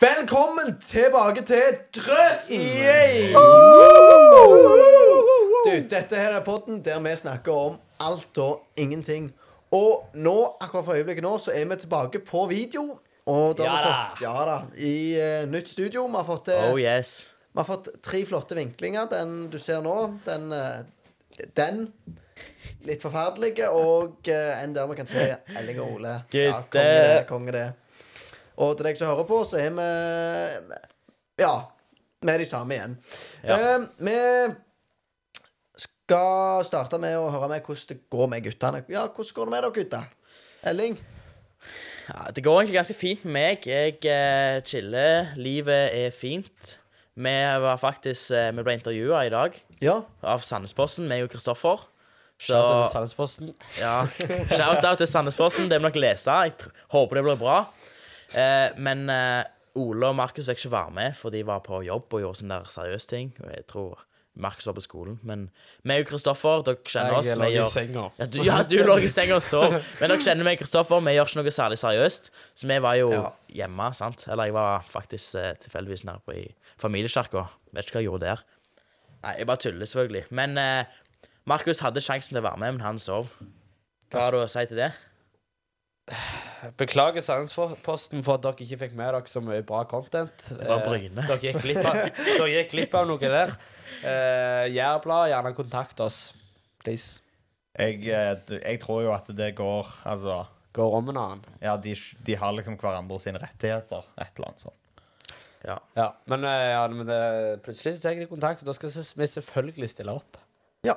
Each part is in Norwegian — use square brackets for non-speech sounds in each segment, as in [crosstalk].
Velkommen tilbake til Mm. Drøsen! Du, dette her er podden der vi snakker om alt og ingenting. Og nå, akkurat for øyeblikket nå, så er vi tilbake på video. Og da har vi Ja da. fått Ja da. I eh, nytt studio. Vi har fått, eh, Oh yes. vi har fått tre flotte vinklinger. Den du ser nå, den eh, Den. Litt forferdelige. Og eh, en der vi kan se Elling og Ole. Ja, Gutte. konge det. Konge det. Og til deg som hører på, så er vi Ja. Vi er de samme igjen. Ja. Eh, vi skal starte med å høre med hvordan det går med guttene. Ja, hvordan går det med dere, gutter? Elling? Ja, det går egentlig ganske fint med meg. Jeg eh, chiller. Livet er fint. Vi var faktisk eh, Vi ble intervjua i dag Ja. av Sandnesposten, meg og Kristoffer. Så Shout out til Sandnesposten. ja, shout-out til Sandnesposten. Det må dere lese. Jeg tr håper det blir bra. Eh, men eh, Ole og Markus fikk ikke være med, for de var på jobb og gjorde sånne der seriøse ting. Og jeg tror Markus var på skolen. Men meg og Kristoffer, dere kjenner oss. Jeg vi lå i gjør- senga. Ja, du, ja, du lå i senga og sov. Men dere kjenner meg, Kristoffer. Vi gjør ikke noe særlig seriøst. Så vi var jo Ja. hjemme, sant. Eller jeg var faktisk eh, tilfeldigvis nede på i familiekirka. Vet ikke hva jeg gjorde der. Nei, jeg bare tuller, selvfølgelig. Men eh, Markus hadde sjansen til å være med, men han sov. Hva har du å si til det? Beklager Sandnesposten for at dere ikke fikk med dere så mye bra content. Det var Eh, Bryne. Dere gikk glipp av, dere gikk glipp av noe der. Uh, Jærblad, gjerne kontakt oss. Please. Jeg, eh, du- jeg tror jo at det går Altså, Går om en annen. ja, de, de har liksom hverandre sine rettigheter. Et eller annet sånt. Ja, men, eh, ja, men det, plutselig så tar jeg kontakt, og da skal vi selvfølgelig stille opp. Ja.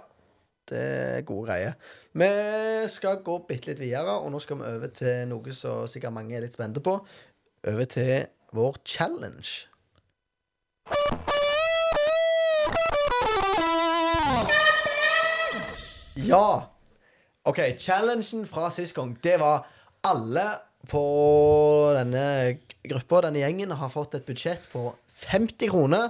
Det er gode greier. Vi skal gå bitte litt videre, og nå skal vi over til noe som sikkert mange er litt spente på. Over til vår challenge. Ja. OK, challengen fra sist gang, det var alle på denne gruppa, denne gjengen, har fått et budsjett på 50 kroner.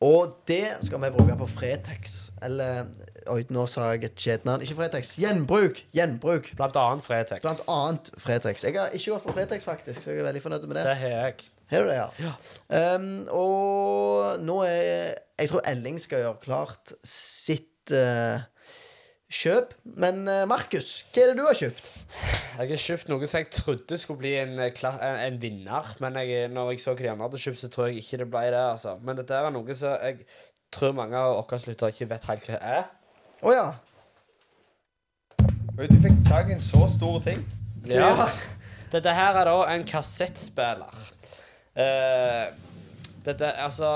Og det skal vi bruke på Fretex. Eller Oi, nå sa jeg et kjedelig navn. Ikke Fretex. Gjenbruk! Gjenbruk. Blant annet Fretex. Blant annet Fretex. Jeg har ikke gått på Fretex, faktisk, så jeg er veldig fornøyd med det. Det har jeg. Har du det, ja? Um, og nå er Jeg tror Elling skal gjøre klart sitt eh, kjøp. Men eh, Markus, hva er det du har kjøpt? Jeg har kjøpt noe som jeg trodde skulle bli en, eh, kla- en, en vinner, men jeg, eh, når jeg så hva de andre hadde kjøpt, så tror jeg ikke det ble det. altså. Men dette er noe som jeg tror mange av våre lyttere ikke vet helt hva er. Å ja. Oi, du fikk tak i en så stor ting. Ja. Dette her er da en kassettspiller. Eh, dette Altså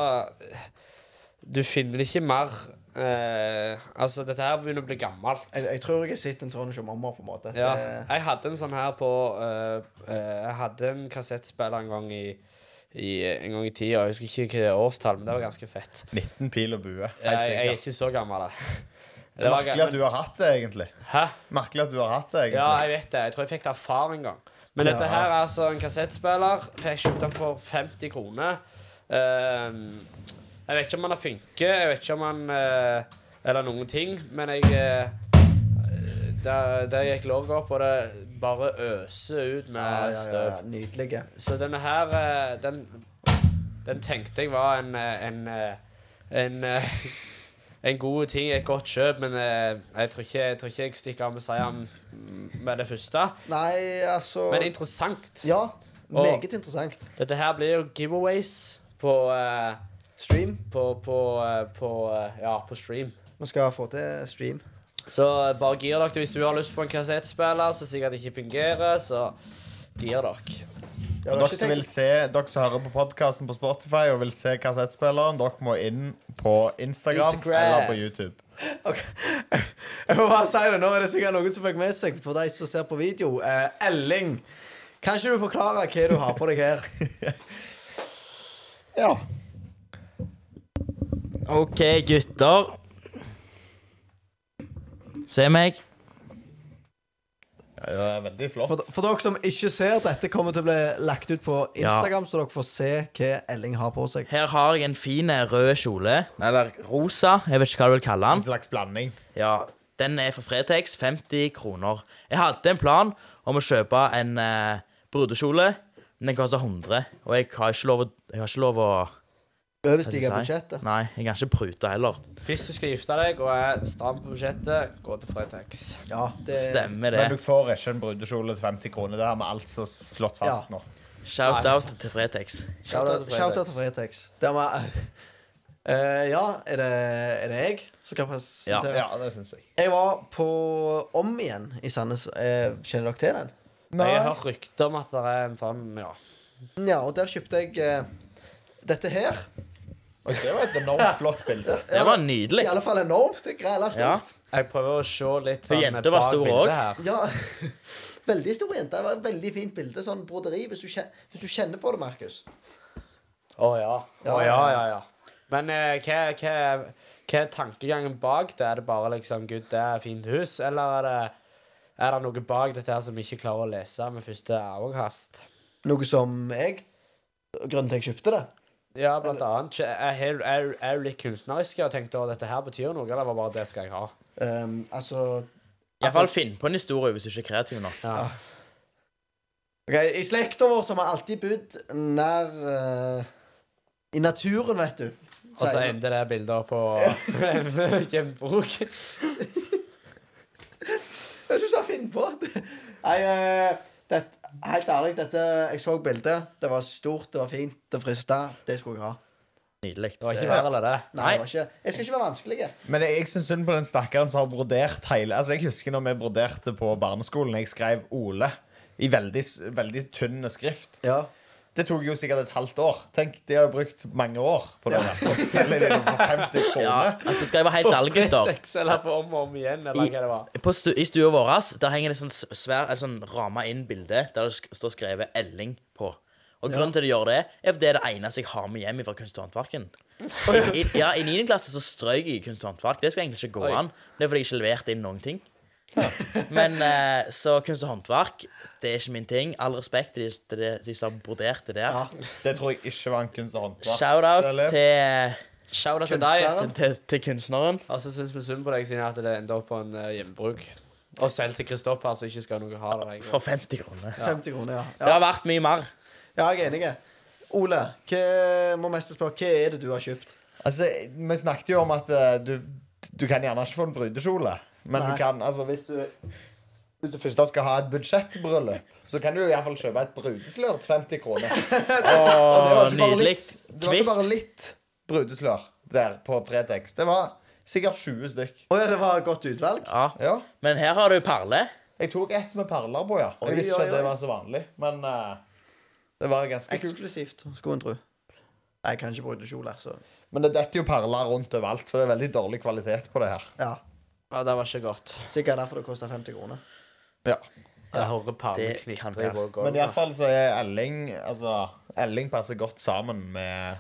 Du finner ikke mer eh, Altså, dette her begynner å bli gammelt. Jeg, jeg tror jeg har sett en sånn hos mamma, på en måte. Ja, Eh, Det- jeg hadde en sånn her på eh, eh, Jeg hadde en kassettspiller en gang i, i En gang i tida. Jeg husker ikke hvilket årstall, men det var ganske fett. 19 pil og bue. Helt Jeg, jeg er sikkert. ikke så gammel, da. Det er merkelig at du har hatt det, egentlig. Hæ? Merkelig at du har hatt det, egentlig. Ja, jeg vet det. Jeg tror jeg fikk det av far en gang. Men Ja. dette her er altså en kassettspiller. for Jeg kjøpte den for 50 kroner. Ehm, jeg vet ikke om han har funket, jeg vet ikke om han eh, Eller noen ting, men jeg eh, der, der gikk låret opp, og det bare øser ut med ja, ja, ja, støv. Nydelige. Så denne her, eh, den, den tenkte jeg var en, eh, en, eh, en, eh, [laughs] en god ting, et godt kjøp, men eh, jeg tror ikke jeg, tror ikke jeg stikker av med seieren med det første. Nei, altså Men interessant. Ja, meget interessant. Dette her blir jo giveaways på, eh, Stream. på, på, eh, på, eh, ja, på stream. Vi skal få til stream. Så bare gir dere hvis du har lyst på en kassettspiller som sikkert ikke fungerer, så gir dere. Ja, du Og har dere ikke som, vil tenkt... se, dere som hører på podkasten på Spotify og vil se kassettspilleren, dere må inn på Instagram, Instagram. eller på YouTube. [laughs] Jeg må bare si det, Nå er det sikkert noen som fikk med seg, for de som ser på video. Eh, Elling, kan ikke du forklare hva du har på deg [laughs] her? Ja. OK, gutter. Se meg. ja det er veldig flott. For, for dere som ikke ser, dette kommer til å bli lagt ut på Instagram, så dere får se hva Elling har på seg. Her har jeg en fin eh, rød kjole. Eller rosa. Jeg vet ikke hva du vil kalle den. En slags blanding. Ja, den er fra Fretex, 50 kroner. Jeg hadde en plan om å kjøpe en eh, brudekjole, men Den koster 100, og jeg har ikke lov å, jeg har ikke lov å Overstiger Hva skal budsjettet. Nei, jeg kan ikke prute heller. Hvis du skal gifte deg og er stram på budsjettet, gå til Fretex. Ja, det Stemmer det. Men du får ikke en brudekjole til 50 kroner. Det har vi altså slått fast nå. Shout-out til Fretex. Shout-out shout out til Fretex. Det må Eh, ja, er det, er det jeg som skal presentere? Ja, det syns jeg. Jeg var på Om igjen i Sandnes. Eh, kjenner dere til den? Jeg har hørt rykter om at det er en sånn, ja. Ja, og der kjøpte jeg eh, dette her. Og det var et enormt flott bilde. Det var nydelig. I alle fall enormt. Det er grela Ja. stort. Jeg prøver å se litt Og sånn jenta var stor også. her. Ja. [laughs] Veldig stor jente. Det var et veldig fint bilde. Sånn broderi, hvis du, kjen- hvis du kjenner på det, Markus. Å ja. Å Ja, ja, ja, ja, ja. Men eh, hva, hva, hva er tankegangen bak det? Er det bare liksom Gud, det er et fint hus, eller er det, er det noe bak dette her som vi ikke klarer å lese med første øyekast? Noe som jeg Grunnen til at jeg kjøpte det? Ja, blant annet. Er, er, er, er du litt kunstnerisk og tenkte at dette her betyr noe, eller var det bare det skal jeg ha? Ehm, altså Iallfall finn på en historie hvis du ikke er kreativ nok. Ja. Ok, I slekta vår så har vi alltid bodd nær eh, I naturen, vet du. Og så Sier- endte det bilder på [laughs] hjemmebok. Jeg syns jeg finner på det. [laughs] Nei, eh, det, helt ærlig, dette Jeg så bildet. Det var stort, det var fint, det frista. Det skulle jeg ha. Nydelig. Det var ikke verre enn det. Nei, Nei. Det var ikke, jeg skal ikke være vanskelig. Men jeg, jeg syns synd på den stakkaren som har brodert hele Altså, Jeg husker når vi broderte på barneskolen. Jeg skrev Ole i veldig, s- veldig tynn skrift. Ja. Det tok jo sikkert et halvt år. Tenk, De har jo brukt mange år på det. der. [laughs] Og så selger de det for 50 Ja, kroner. altså Skal jeg være helt ærlig, gutter Fretex, eller på om og om igjen, eller hva det var. på stu, I stua vår der henger det sånn s- svær, et sånn ramma inn bilde der det sk- står skrevet 'Elling' på. Og Grunnen til at de gjør det, er fordi det er det eneste jeg har med hjem fra Kunst- og [laughs] håndverken. I, i, ja, I 9. klasse så strøk jeg i kunst og håndverk. Det skal egentlig ikke gå Oi. an. Det er fordi jeg ikke leverte inn noen ting. [laughs] Men eh, så kunst og håndverk, det er ikke min ting. All respekt til de, til de, de som broderte der. Ja. Det tror jeg ikke var en kunst- og håndverk. Shout-out Eller? til, Shout out til deg. Kunstneren. til, til, til kunstneren. Og så syns vi synd på deg, siden at det endte opp på en eh, hjemmebruk. Og selv til Kristoffer, som ikke skal ha noe hard av deg. For 50 kroner. 50 kroner, ja. Det Ja, har vært mye mer. ja jeg er enig. Ole, hva, må mest spørre, hva er det du har kjøpt? Altså, Vi snakket jo om at eh, du, du kan gjerne ikke få en brudekjole. Men Nei. du kan, altså hvis du Hvis du først da skal ha et budsjettbryllup, så kan du jo iallfall kjøpe et brudeslør til 50 kroner. det var Åh, ikke bare Ah, nydelig. Det var ikke Kvitt. bare litt brudeslør der på Fretex. Det var sikkert 20 stykk. Å ja, det var et godt utvalg? Ja. Ja. Men her har du perle. Jeg tok ett med perler på, ja. Oi, Jeg visste ikke oi, at det oi. var så vanlig, men eh, det var ganske kult. Eksklusivt, skulle en tro. Nei, Jeg kan ikke brudekjole, så Men det detter jo perler rundt overalt, så det er veldig dårlig kvalitet på det her. ja. Ja, det var ikke godt. Sikkert derfor det kosta 50 kroner. Ja. Jeg hører Det perlen kan knitre i være. vår Men gulv. iallfall så er Elling Altså, Elling passer godt sammen med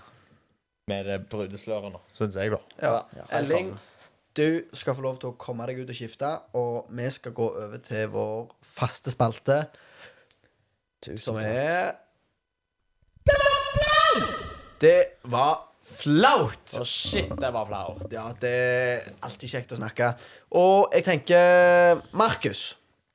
Med det brudesløret nå, syns jeg, da. Ja. Ja, helt Elling, sammen. du skal få lov til å komme deg ut og skifte, og vi skal gå over til vår faste spalte, som er Det var flaut! Å, shit, det var flaut. Ja, det er alltid kjekt å snakke. Og jeg tenker Markus,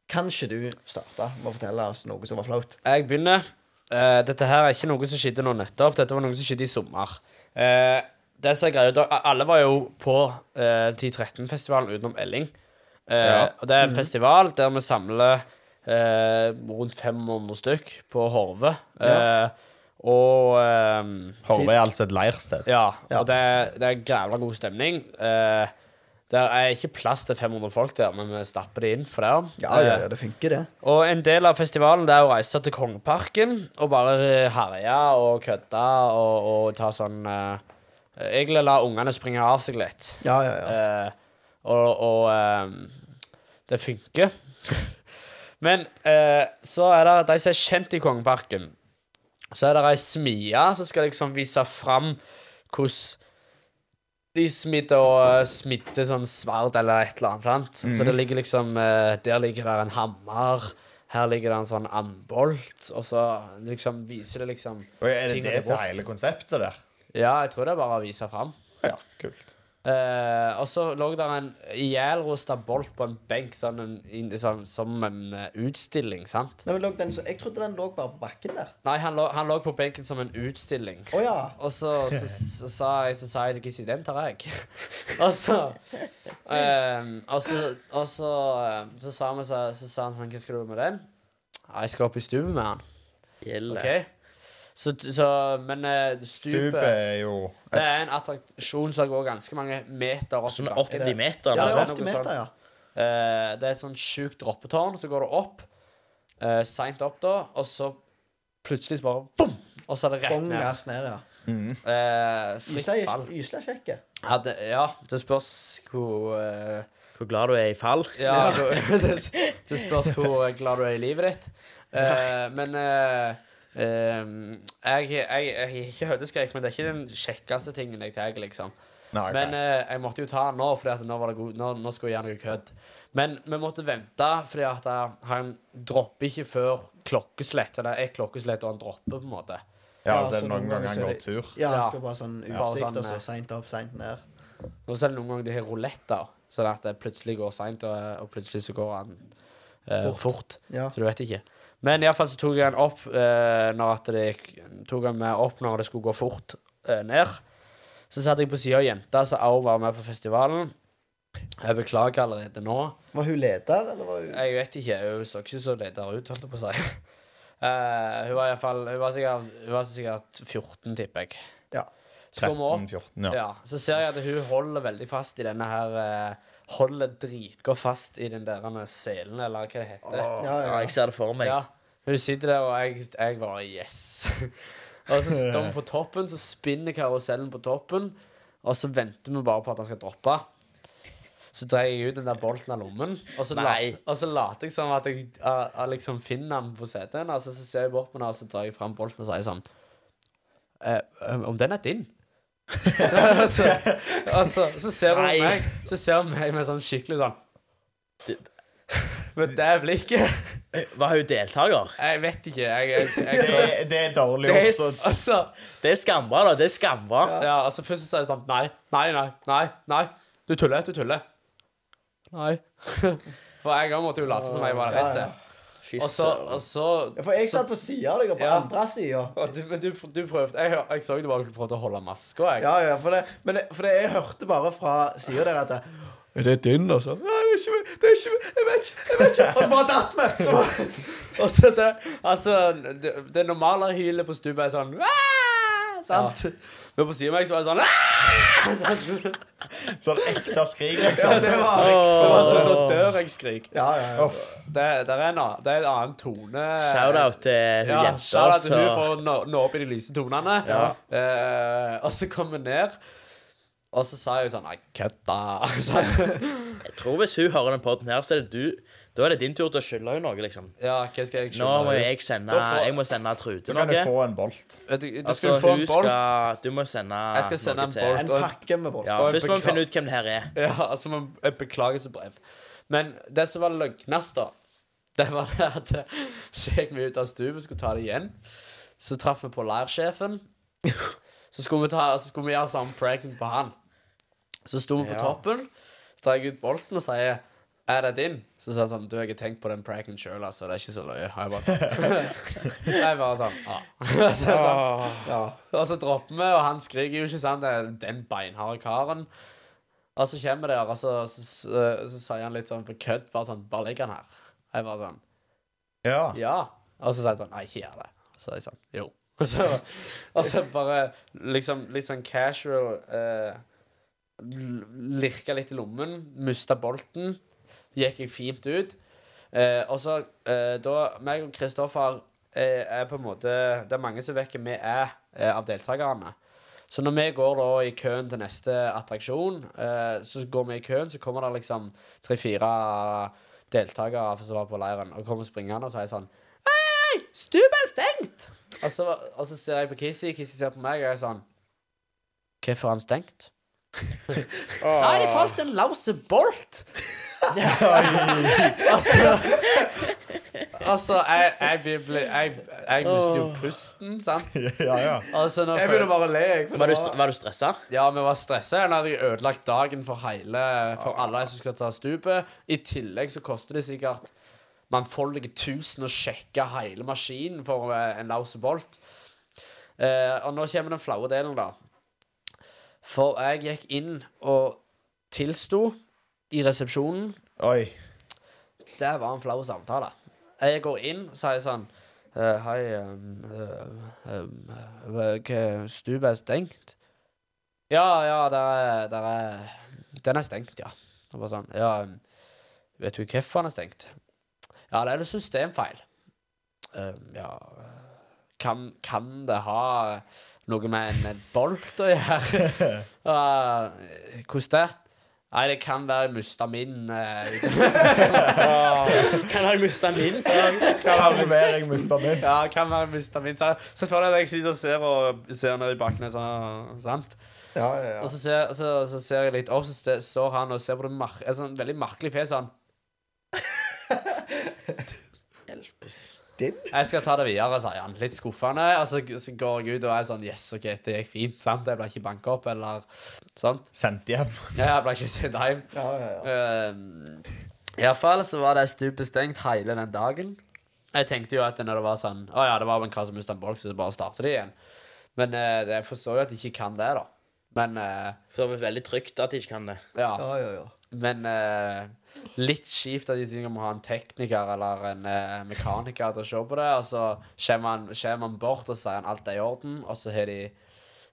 kan ikke du starte med å fortelle oss noe som var flaut? Jeg begynner. Eh, dette her er ikke noe som skjedde nå nettopp. Dette var noe som skjedde i sommer. Eh, det som er greia, da, Alle var jo på eh, 1013-festivalen utenom Elling. Eh, Ja. Og Det er en festival der vi samler eh, rundt 500 stykk på Horve. Ja. Eh, Og ehm, Horve er altså et leirsted. ja, Ja. og det, det er grævla god stemning. Eh, det er ikke plass til 500 folk der, men vi stapper det inn for det. Ja, ja, ja, det funker, det. Og en del av festivalen det er å reise til Kongeparken og bare eh, herje og kødde og, og ta sånn eh, Egentlig la ungene springe av seg litt. Ja, ja, ja. Eh, og og ehm, det funker. [laughs] Men eh, så er det de som er kjent i Kongeparken. Så er det ei smie som skal liksom vise fram hvordan de smidde og smidde sånn sverd eller et eller annet. sant? Så det ligger liksom eh, Der ligger det en hammer. Her ligger det en sånn andbolt, og så liksom viser det liksom Og er det Ting er det som bort. er hele konseptet der? Ja, jeg tror det er bare å vise fram. Ja, kult. Eh, Eh, og så lå der en ihjelrosta bolt på en benk, sånn en, i- sånn, som en eh, utstilling, sant? Nei, men lå den, så, jeg trodde den lå bare på bakken der. Nei, han lå, han lå på benken som en utstilling. Å ja. Og så, så, så, sa jeg Så sa jeg til Kissy Den tar jeg [laughs] Og så ehm, Og så Og så ehm, Så sa, vi, så, så sa han sånn Hva skal du gjøre med den? «Ja, Jeg skal opp i stupet med han Gjelder. Ok Så, så Men eh, stupet Stupet er jo Det er en attraksjon Som går ganske mange meter opp i Sånn bakken. 80 meter. Ja, det altså. er noe sånn 80 meter, ja. Eh, Det er et sånn sjukt droppetårn Så går det opp uh, Sent opp da Og så Plutselig så bare boom! Og så er det rett Bong ned ass ned, ja. Eh, Fritt Ysla fall er- Ysla er kjekk. ja. Ja, det, ja, det spørs hvor eh, Hvor glad du er i fall. Ja, du- [laughs] det, s- det spørs hvor glad du er i livet ditt. Eh, men eh, ehm, jeg, jeg, jeg har ikke høydeskrekk, men det er ikke den kjekkeste tingen jeg tar, liksom. Nei, ok. Men eh, jeg måtte jo ta den nå, for nå, var det god- nå, nå skulle jeg gjøre noe kødd. Men vi måtte vente, fordi at eh, han dropper ikke før klokkeslett. Så det er klokkeslett, og han dropper, på en måte. ja, Ja, så er så det noen ganger han så er går det- tur. Ja, Ja. akkurat bare sånn Ja, bare sånn, utsikt, og eh, så seint opp, seint ned. Og så er det noen ganger de har rouletter, sånn at det plutselig går seint, og, eh, og plutselig så går han eh, Fort. fort. Ja. Så du vet ikke. Men iallfall så tok jeg den opp eh, når at det gikk- tok han med opp når det skulle gå fort eh, ned. Så satt jeg på sida av jenta som også var med på festivalen. Jeg beklager allerede nå. Var hun leder, eller var hun Jeg vet ikke, hun så ikke så leder ut, holdt jeg på å si. [laughs] Eh, hun var i hvert fall Hun var sikkert, hun var sikkert 14, tipper jeg. Ja. Så kom hun opp 13-14, ja. ja, så ser jeg at hun holder veldig fast i denne her eh, Holder dritgodt fast i den der denne selen, eller hva det heter. Ja, ja, Ja, jeg ser det for meg. Ja, hun sitter der, og jeg, jeg bare Yes! [laughs] og [laughs] så står vi på toppen, så spinner karusellen på toppen, og så venter vi bare på at han skal droppe. Så dreier jeg ut den der bolten av lommen, og så, la, Nei. og så later jeg som at jeg ah, ah, liksom finner den på CD-en. Altså, så ser jeg bort på den, og så drar jeg fram bolten og sier sånn eh, Om den er din? [laughs] og så, og så, så ser hun Nei. meg, så ser hun meg med sånn skikkelig sånn Du- Med det blikket. Var hun deltaker? Jeg vet ikke. Jeg, jeg, jeg, Det, så, er- det er dårlig Det er gjort. å- altså, Det er skambra, da. Det er skambra. ja, altså, først så sa jeg sånn Nei, nei, nei. nei, nei. Du tuller, du tuller. Nei. [laughs] For jeg òg måtte jo late som jeg var Ja, redd. ja. Fy Og så, søren. og så Ja, For jeg så- satt på sida av deg, og på Ja. andre sida. og du, Men du, du prøvde Jeg, jeg så du bare prøvde å holde maska. Jeg. Ja, ja, for det, men det, for det, jeg hørte bare fra sida der at det, Er det din, altså? Nei, det er ikke meg. Det er ikke meg. Jeg vet ikke. Jeg vet ikke. Og så bare datt vi. Så bare- Og så det, altså, det, det normale hylet på stupet er sånn «Aah!» Sant? Men på siden av meg så var det sånn «Aah!» [laughs] sant? Sånn ekte skrik, liksom. Ja, det var Det var sånn Da dør jeg-skrik. Ja, ja, ja. Uff. Det, det, er en annen- det er en annen tone. [laughs] Shout-out til hun Ja, jenta. altså. shout-out til hun så- for å nå, nå opp i de lyse tonene. Eh, og så kom hun ned, og så sa jeg sånn Nei, kødda. [laughs] sant? Jeg tror hvis hun hører den podden her, så er det du Da er det din tur til å skylde henne noe, liksom. ja, hva skal jeg Nå må skjønne? jeg sende Da får- Jeg må sende Trude Så kan du noe. få en bolt. Du, du Altså, skulle få en hun bolt. skal Du må sende Jeg skal sende noe en til- bolt. En pakke med bolt. Ja, og en først må vi beklag- finne ut hvem det her er. [laughs] Ja, altså man- et beklagelsesbrev. Men det som var løgnest, da, det var det at eh, så gikk vi ut av stupet, skulle ta det igjen. Så traff vi på leirsjefen. Så skulle vi, ta, så skulle vi gjøre samme pranken på han. Så sto vi på Ja. toppen, så tar jeg ut bolten og sier er det din? Så sa han sånn Du, jeg har tenkt på den pranken sjøl, altså. Det er ikke så løye. Og jeg bare sånn [laughs] Jeg bare sånn ah. [laughs] så, sånn. Ja. Og så dropper vi, og han skriker jo ikke sant Det er den beinharde karen. Og så kommer det, og så, så, så, så sier han litt sånn på kødd, bare sånn Bare legg han her. Jeg bare sånn Ja. Ja. Og så sier han sånn Nei, ikke gjør det. Så er jeg sånn Jo. [laughs] Og så, og så bare liksom litt sånn casual eh, l- Lirka litt i lommen, mista bolten. Gikk jeg fint ut. Eh, og så eh, da meg og Kristoffer eh, er på en måte Det er mange som vet hvem vi er eh, av deltakerne. Så når vi går da i køen til neste attraksjon, eh, så går vi i køen, så kommer det liksom tre-fire deltakere som var på leiren, og kommer springende og sier sånn Hei, stupet er stengt! Og så, og så ser jeg på Kissy, Kissy ser på meg, og jeg er sånn Hvorfor er han stengt? Nei, det falt en lause [laughs] bolt! altså Altså, jeg, jeg, blir- jeg, Jeg mister jo pusten, sant? Ja, ja. Altså, når Jeg begynner bare å le. jeg, for Var det du, var- var du stressa? Ja, vi var stressa. Nå hadde jeg ødelagt dagen for hele For alle som skal ta stupet. I tillegg så koster det sikkert mangfoldige tusen å sjekke hele maskinen for eh, en lause bolt. Eh, og nå kommer den flaue delen, da. For jeg gikk inn og tilsto i resepsjonen. Oi. Det var en flau samtale. Jeg går inn og sier sånn eh, Hei, um, eh, um, eh, hva- stupet er stengt? Ja, ja, der er, der er Den er stengt, ja. Og bare sånn Ja, um, vet du hvorfor den er stengt? Ja, det er en systemfeil. Um, ja kan, kan det ha noe med en bolt å gjøre? Uh, hvordan det? Nei, det kan være mista min eh, [laughs] Kan jeg miste min? Kalvering mista min. Ja, kan være mista min Så så føler jeg at jeg sitter og ser, og ser ned i bakken. Sånn, sant? Ja, ja, ja. Og så ser, så, så ser jeg litt opp, så ste- står han og ser på det mar et sånn veldig merkelig fjes. Han Din? 'Jeg skal ta det videre', sier han. Litt skuffende. Og så, så går jeg ut og er sånn 'Yes, OK, det gikk fint'. sant? Jeg ble ikke banka opp, eller sånt. Sendt hjem. Ja, jeg ble ikke sendt hjem. Ja, ja, ja. Uh, Iallfall så var det stupet stengt hele den dagen. Jeg tenkte jo at når det var sånn Å ja, det var en kar som mista en bolk, så bare starter de igjen. Men eh, jeg forstår jo at de ikke kan det, da. Men eh, Så det var veldig trygt at de ikke kan det. ja. ja, ja, ja. Men eh, litt kjipt at de sikkert må ha en tekniker eller en eh, mekaniker til å se på det. Og så kommer han, kommer han bort og sier han alt er i orden, og så har de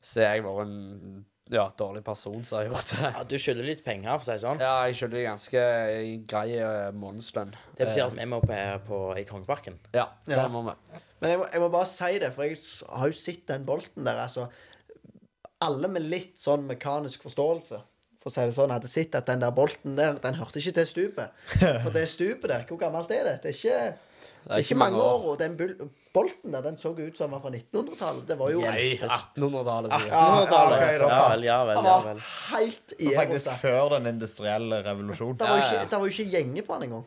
Så har jeg vært en ja, dårlig person som har gjort det. Ja, du skylder litt penger, for å si det sånn. Ja, jeg skylder de ganske grei eh, månedslønn. Det betyr Eh, at vi må opp her på, i Kongeparken. Ja, det Ja. må vi. Men jeg må, jeg må bare si det, for jeg s- har jo sett den bolten der, altså. Alle med litt sånn mekanisk forståelse for å si det sånn, hadde sett at den der bolten der, den hørte ikke til stupet. For det stupet der, hvor gammelt er det? Det er ikke, det er ikke mange år. Og den bul- bolten der, den så ut som den var fra 1900-tallet. Det var jo Nei, Nei, 1800-tallet. sier jeg. Ja, ja, ok, Ja såpass. vel, ja vel. Han Ja, var vel. helt i Faktisk Egosa. før den industrielle revolusjonen. Det var jo Ja, ja, ja. ikke, det var jo ikke gjenge på han engang.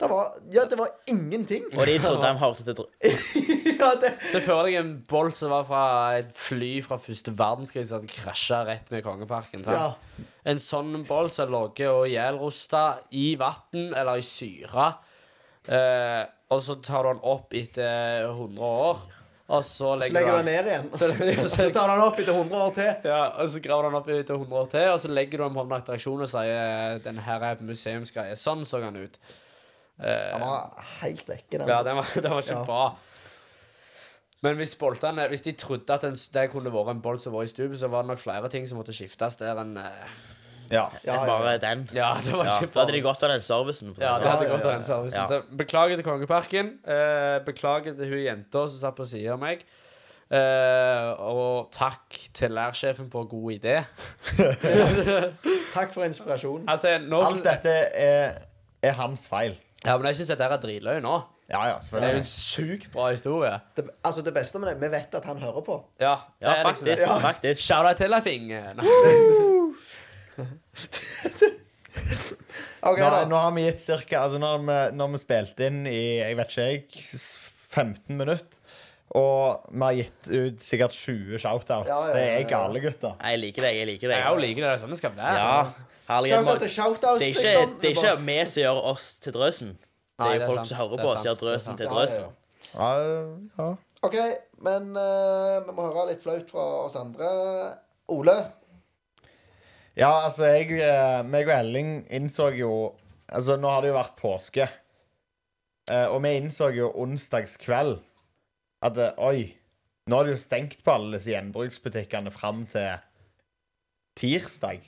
Det var, ja, det var ingenting. [laughs] Og de trodde de hørte til dr- ja, det, Se for deg en bolt som var fra et fly fra første verdenskrig som hadde krasja rett med Kongeparken. ja. Sant? En sånn bolt som lå og gjelrosta i vann eller i syre. Eh, og så tar du den opp etter 100 år, og så Så legger, legger du den du den ned igjen. [laughs] så, Så tar han opp etter 100 år til. ja, og så graver du den opp etter 100 år til, og så legger du den på en attraksjon og sier den her er et museumsgreie. Sånn så den ut. Han var helt vekke, den. Ja, den var, [laughs] den var ikke Ja. bra. Men hvis boltene, hvis de trodde at en, det kunne vært en bolt som var i stupet, så var det nok flere ting som måtte skiftes der enn eh, Ja. Ja, ja, bare ja. den. Ja, det var Ja, ikke da bra. hadde de godt av den servicen. For å si ja, det det sånn. hadde Ja, gått av ja, den ja, servicen. ja. Så beklager til Kongeparken. eh, beklager til hun jenta som satt på sida av meg. eh, og takk til lærsjefen på god idé. Takk for inspirasjonen. Altså, nå Alt dette er, er hans feil. Ja, men jeg syns dette er dritløy nå. Ja, ja, Det er jo selvfølgelig. en sjukt bra historie. Det, altså, det beste med det, vi vet at han hører på. Ja, det Ja, er liksom det. faktisk. Ja. faktisk. Shout out til Leifing. Nei. Ok, Nå, da. nå har vi gitt cirka altså når, vi, når vi spilte inn i jeg vet ikke, jeg, s- 15 minutter, og vi har gitt ut sikkert 20 shoutouts. Ja, ja, ja, Det er ja. gale, gutter. Nei, Jeg liker deg, jeg liker Jeg deg. òg liker det. Det er sånn det skal være. Ja, herlig. Shoutout til shoutouts, Det er ikke, liksom. det er ikke vi som gjør oss til drøsen. Det Nei, er det jo er folk sant, som hører det er på oss, som gjør sant, det er drøsen sant. til Ja, ja, drøsen. ja. Ja, ja. OK, men eh, vi må høre litt flaut fra oss andre. Ole. ja altså, jeg, eh, meg og Elling innså jo Altså, nå har det jo vært påske, Eh, og vi innså jo onsdagskveld at eh, Oi, nå er det jo stengt på alle disse gjenbruksbutikkene fram til tirsdag.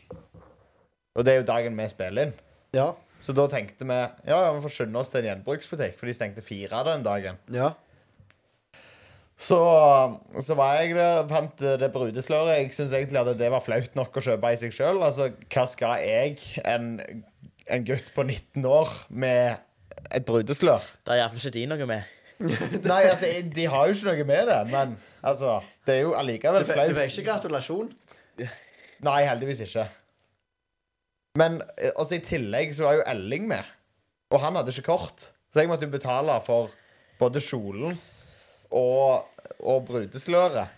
Og det er jo dagen vi spiller inn. Ja. Så da tenkte vi ja, ja, vi får skynde oss til en gjenbruksbutikk, for de stengte fire den dagen. Ja. Så, så var jeg der, fant det brudesløret. Jeg syns egentlig at det var flaut nok å kjøpe i seg sjøl. Altså, hva skal jeg, en, en gutt på 19 år, med et brudeslør? [laughs] Det er iallfall ikke de noe med. Nei, altså, de har jo ikke noe med det, men altså Det er jo Du, fe- allikevel du flaut. fikk ikke gratulasjon? Nei, heldigvis ikke. Men eh, også i tillegg så var jo Elling med, og han hadde ikke kort. Så jeg måtte jo betale for både kjolen og, og brudesløret.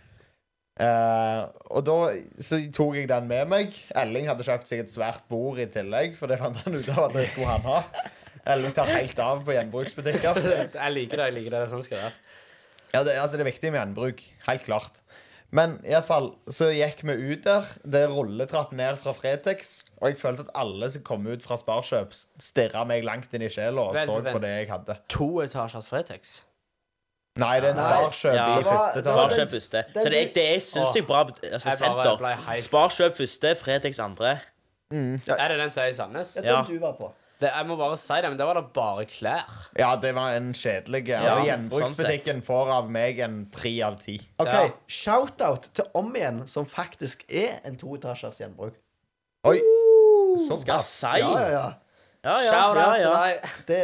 Eh, og da så tok jeg den med meg. Elling hadde kjøpt seg et svært bord i tillegg, for det fant han ut av at det skulle han ha. Elling tar helt av på gjenbruksbutikker. [laughs] Jeg liker det. jeg liker det, det er sånn det skal være. Ja, det, altså det er viktig med gjenbruk. Helt klart. Men i alle fall, så gikk vi ut der. Det er rulletrapp ned fra Fretex. Og jeg følte at alle som kom ut fra Sparkjøp, stirra meg langt inn i sjela og Vent, så vent. på det jeg hadde. To etasjers Fretex. Nei, det er en Nei. Sparkjøp Ja, det i var- første det var etasje. Sparkjøp første. den- Så det er, det er syns jeg, bra altså, Jeg bare ble senter. helt- Sparkjøp første, Fretex andre. Er det den som er i Sandnes? Ja, den Ja. du var på. Det, jeg må bare si det, men der var det bare klær. Ja, det var en kjedelig sånn altså, Gjenbruksbutikken får av meg en tre av ti. OK. Ja. Shout-out til Om igjen, som faktisk er en toetasjers gjenbruk. Oi, Skal såpass. si. Ja, ja, ja. Ja, ja, Shout ja, out ja. til deg. Det,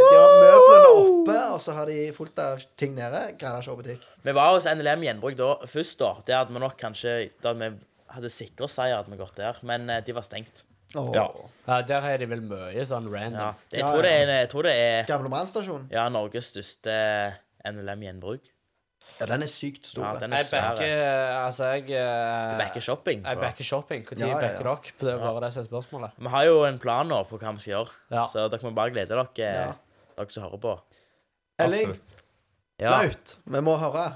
de har møblene oppe, og så har de fullt av ting nede. Greiner ikke å butikk. Vi var hos NLM Gjenbruk da, først, da. Det hadde vi nok kanskje Da vi hadde sikra seier, hadde vi gått der. Men eh, de var stengt. Åh. Ja. Ja, der har de vel mye sånn Ja. random. Jeg, Ja, tror det ja. er, jeg tror det er Gamle mannstasjon. ja, Norges største eh, NLM Gjenbruk. Ja, den er sykt stor. Ja, den er Jeg svær. backer Altså, jeg eh, Backer shopping. Jeg backer shopping. Når Ja, ja, ja. backer dere? Det er bare det som er spørsmålet. Vi har jo en plan nå på hva vi skal gjøre, Ja. så dere må bare glede dere, eh, Ja. dere som hører på. Elling, Absolutt. Ja, flaut. Vi må høre.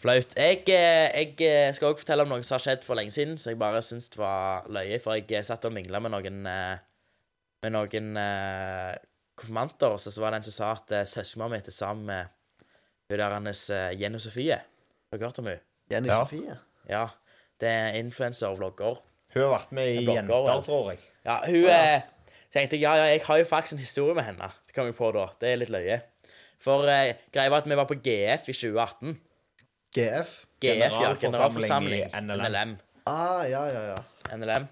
flaut. Jeg, eh, jeg eh, skal også fortelle om noe som har skjedd for lenge siden, så jeg bare syns det var løye, for jeg eh, satt og mingla med noen eh, Med noen eh, konfirmanter, og så så var det en som sa at eh, søskenbarnet mitt er sammen med hun der hennes eh, Jenny Sofie. Har dere hørt om henne? Jenny Ja. Sofie. Ja. Det er influenser og vlogger. Hun har vært med i Jeg blokker Jenter, alt. tror jeg. Ja, hun eh, så tenkte jeg, ja, ja, jeg har jo faktisk en historie med henne. Det kom jeg på da. Det er litt løye. For eh, greia var at vi var på GF i 2018. GF. GF, ja. Generalforsamling Generalforsamling. i NLM. NLM. Ah, ja, ja, ja. NLM.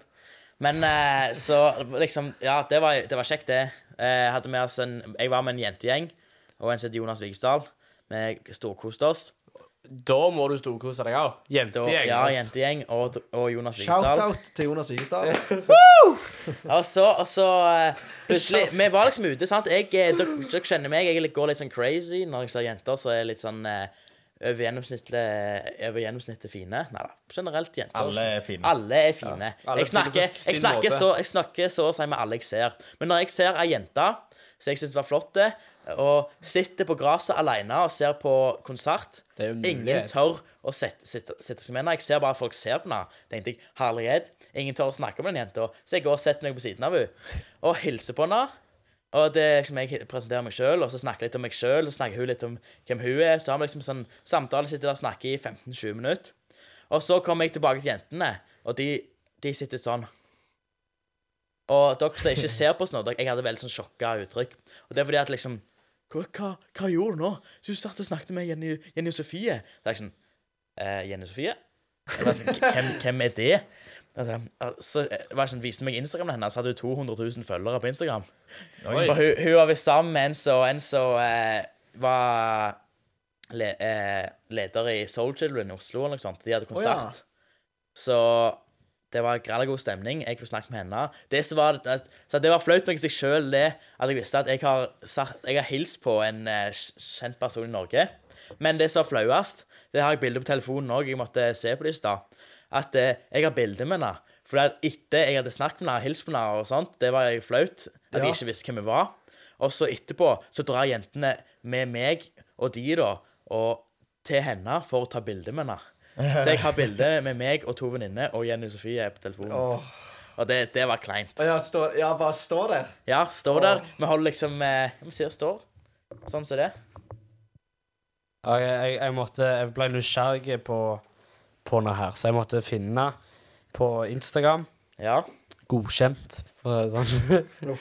Men eh, så liksom Ja, det var, det var kjekt, det. Eh, hadde med oss en, jeg var med en jentegjeng og en som heter Jonas Vigesdal. Vi storkoste oss. Da må du storkose deg òg. Da, Jentegjeng. ja, ass. jentegjeng og, og Jonas Vigesdal. Shout-out til Jonas Vigestad. Og så, og så eh, plutselig Vi var liksom ute, sant. Jeg, eh, dere, dere kjenner meg, jeg går litt sånn crazy når jeg ser jenter, så er jeg litt sånn eh, over gjennomsnittet, eh, over gjennomsnittet fine. Nei da, generelt jenter. Alle så- er fine. Alle er fine. Alle jeg, snakker på snakker, sin jeg, snakker måte. så, jeg snakker så å si med alle jeg ser. Men når jeg ser ei jente som jeg syns var flott, eh, og sitter på gresset alene og ser på konsert Det er jo en Ingen mulighet. tør å sette, sitte, sitte seg med henne. Jeg ser bare at folk ser på henne. tenkte jeg, herlighet. Ingen tør å snakke med den jenta. Så jeg går og setter meg på siden av henne og hilser på henne. Og det er liksom Jeg presenterer meg sjøl, og så snakker jeg litt om meg sjøl, og snakker hun litt om hvem hun er. Så har vi liksom sånn samtale, sitter der og snakker i 15-20 minutter. Og så kommer jeg tilbake til jentene, og de, de sitter sånn. Og dere som ikke ser på oss nå, dere- jeg hadde veldig sånn sjokka uttrykk. Og det er fordi at liksom Hva, hva, hva gjorde du nå? Du satt og snakket med Jenny, Jenny og Sofie. Så er jeg sånn eh, Jenny og Sofie? Jeg var sånn, hvem, hvem er det? Altså, så var jeg sånn, viste meg Instagramen hennes, så hadde hun 200 000 følgere på Instagram. Oi. For hun, hun var visst sammen med en som en som, eh, var le, eh, leder i Soul Children i Oslo, eller noe sånt. De hadde ja. konsert. Så det var grell god stemning. Jeg fikk snakke med henne. Det som var, så det var flaut nok i seg sjøl, det at jeg visste at jeg har, sagt, jeg har hilst på en eh, kj- kjent person i Norge. Men det som var flauest, det har jeg bilde på telefonen òg, jeg måtte se på det i stad, at eh, jeg har bilde med henne. For at etter jeg hadde snakket med henne, hilst på henne og sånt, det var jeg flaut. At Ja. jeg ikke visste hvem jeg var. Og så etterpå så drar jentene med meg og de, da, og til henne for å ta bilde med henne. Så jeg har bilde med meg og to venninner og Jenny Sofie på telefonen. Åh. Og det, det var kleint. Å, Ja, stå, ja, bare stå der. Ja, står der. Vi holder liksom eh, Vi sier står. Sånn som det. Ja, Jeg, jeg, jeg, måtte, jeg ble nysgjerrig på, på noe her, så jeg måtte finne på Instagram. Ja. Godkjent. for å si det Sånn. jeg,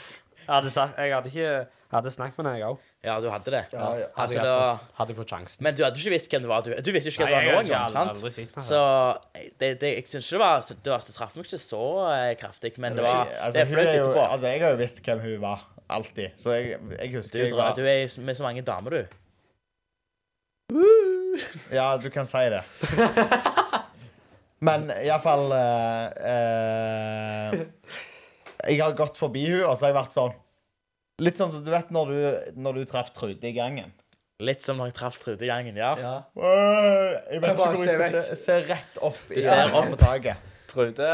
hadde sagt, jeg hadde ikke jeg hadde snakket med deg òg. ja, du hadde det. Ja, ja. Altså, Hadde, jeg da- fått- hadde jeg fått sjansen. Men du hadde ikke visst hvem det var. Du, du visste jo ikke hvem Nei, det var nå jeg engang. hadde sant? aldri sett meg Så det, det, jeg syns ikke det var så- Det, var- det traff meg ikke så eh, kraftig, men det var Altså, Det er hun flaut er jo, etterpå. altså, jeg har jo visst hvem hun var. Alltid. Så jeg, jeg Du, husker jeg drar- du var er med så mange damer, du. Ja, du kan si det. Men iallfall uh, eh, Jeg har gått forbi hun, og så har jeg vært sånn Litt sånn som du vet når du, når du traff Trude i gangen. Litt som når jeg traff Trude i gangen, ja. Ja. Jeg vet ikke bare hvor ser jeg skal vekk. se. Se rett opp i ser opp på taket. Trude.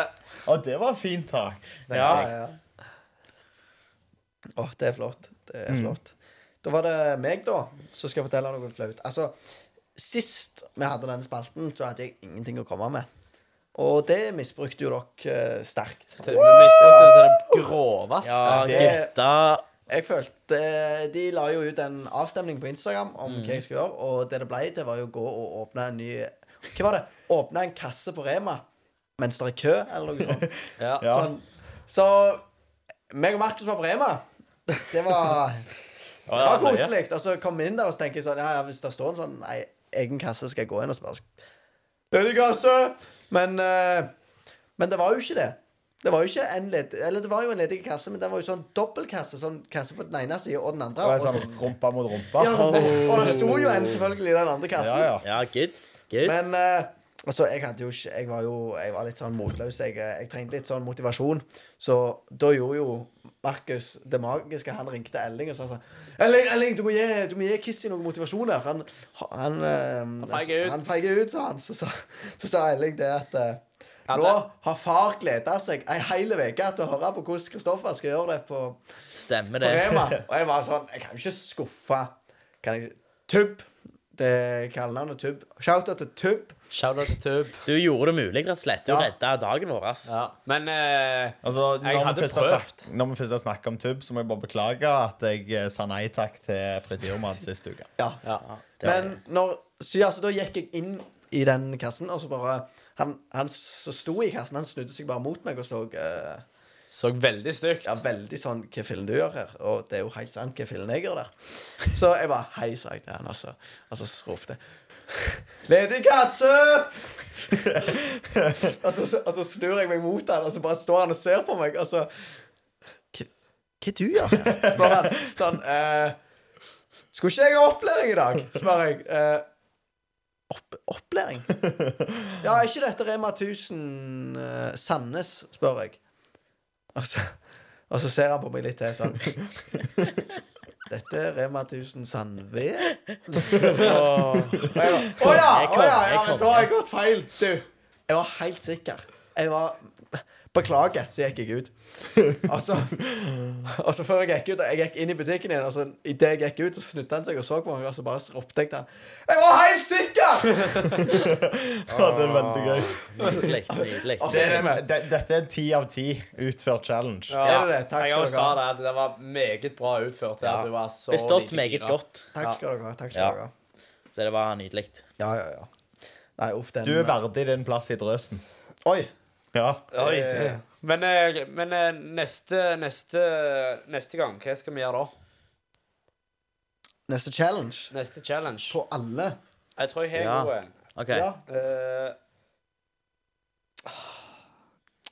Å, det var fint tak. Ja. Ja, ja. Åh, det er flott. Det er flott. Da var det meg, da, som skal fortelle noe flaut. Altså, sist vi hadde den spalten, så hadde jeg ingenting å komme med. Og det misbrukte jo dere eh, sterkt. Du misbrukte det til det groveste. Ja, det- gutta. Jeg følte eh, De la jo ut en avstemning på Instagram om hva jeg skulle gjøre, og det det ble, det var jo å gå og åpne en ny Hva var det? Åpne en kasse på Rema mens det er kø, eller noe sånt. Ja. Ja. Sånn. Så meg og Markus var på Rema. Det var, det var koselig. Og så kom vi inn der og så tenker jeg sånn ja, ja, Hvis det står en sånn nei, egen kasse, skal jeg gå inn og spørre. Ledig kasse! Men, eh, men det var jo ikke det. Det var jo ikke en led, Eller det var jo en ledig kasse, men den var jo sånn dobbeltkasse. Sånn kasse på den ene siden og den andre. Det var Og, så, sånn rumpa mot rumpa. ja, og det sto jo en selvfølgelig i den andre Ja, kassen. ja. Ja, good. good. Men eh, altså, jeg hadde jo ikke Jeg var jo jeg var litt sånn motløs. Jeg, eh, jeg trengte litt sånn motivasjon. Så da gjorde jo Markus det magiske. Han ringte Elling og sa sånn Elling, Elling du, må gi, du må gi Kissy noe motivasjon her. Han, han, eh, feiger ut. han feiger ut, sa han. Så sa, så sa Elling det at eh, Ja, nå det- har far gleda seg ei hel uke til å høre på hvordan Kristoffer skal gjøre det på Stemmer på det. Rema. [laughs] Og jeg var sånn Jeg kan jo ikke skuffe kan jeg, Tubb. Det er kallenavnet Tubb. Shout-out til Tubb. Shout-out til Tub. Du gjorde det mulig, rett og slett. Du Ja. redda dagen vår. ass. Ja. Men eh, Altså, når Jeg vi hadde først har prøvd. snakket- når vi først har snakket om tubb, så må jeg bare beklage at jeg eh, sa nei takk til frityrmat sist uke. Ja. ja. Det var- Men når Så ja, så da gikk jeg inn i den kassen, og så bare Han, han som sto i kassen, han snudde seg bare mot meg og så eh, Så veldig stygt. Ja, veldig sånn Hva fillen du gjør her? Og det er jo helt sant, hva fillen jeg gjør der? Så jeg bare Hei, sa jeg til han, altså. Og så ropte jeg Ledig kasse! og, så, og så snur jeg meg mot han, og så bare står han og ser på meg, og så Hva hva du gjør her? spør han. Sånn eh, Skulle ikke jeg ha opplæring i dag? spør jeg. Eh, opp, opplæring? Ja, er ikke dette Rema 1000 eh, Sandnes, spør jeg. Og så, og så ser han på meg litt til sånn Dette er Rema 1000 Sandved? Åh. Og jeg bare, Å ja! Jeg Å kom, ja, jeg ja kom, men da har ja. jeg gått feil! Du. Jeg var helt sikker. Jeg var Beklager, så gikk jeg ut. Og så, og så før jeg gikk ut Jeg gikk inn i butikken igjen, og så idet jeg gikk ut, så snudde han seg og så på meg, og så bare ropte jeg til han. Jeg var helt sikker! Ja, det er veldig gøy. Nydelig. nydelig. Altså, Det er, det, dette er en ti av ti utført challenge. Er det det? Takk jeg skal også dere sa ha. det. at Det var meget bra utført. Ja. Ja. Det var så Bestått lite meget gira. godt. Takk skal dere ha. Takk skal Ja. dere ha. Så det var nydelig. Ja, ja, ja. Nei, uff, den Du er verdig din plass i drøsen. Oi! Ja. Oi, Eh, det. Men, eh, men eh, neste, neste, neste gang, hva skal vi gjøre da? Neste challenge Neste challenge? på alle. Jeg tror jeg Ja. har god en. OK. Ja. Eh,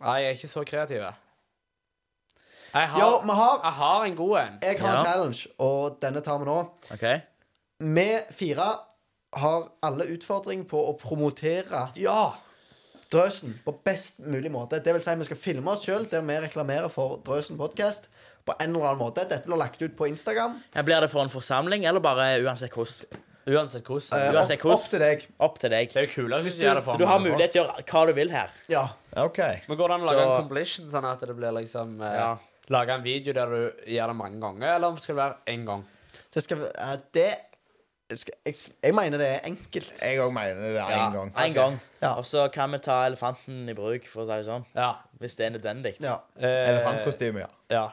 Nei, ah, jeg er ikke så kreativ. jeg. Jeg har, Jo, vi har jeg har en god en. Jeg har Ja. en challenge, og denne tar vi nå. ok Vi fire har alle utfordring på å promotere Ja! Drøsen på best mulig måte. Det vil si, vi skal filme oss sjøl der vi reklamerer for Drøsen podkast på en eller annen måte. Dette blir lagt ut på Instagram. Ja, Blir det for en forsamling, eller bare uansett hvordan? Uansett hvordan. Eh, Du har sett opp, hvordan? opp til deg. Opp til deg. Det er jo kulere hvis du gjør det Så for du har meg. mulighet til å gjøre hva du vil her. Ja. OK. Men går det an å lage Så- en completion, sånn at det blir liksom eh, Ja. Lage en video der du gjør det mange ganger, eller skal det være én gang? Det skal vi- eh, Det skal, jeg, jeg mener det er enkelt. Jeg òg mener det én Ja, gang. En gang. Ja. Og så kan vi ta elefanten i bruk, for å si det sånn. Ja. Hvis det er nødvendig. Ja. Eh, Elefantkostyme, ja. Ja.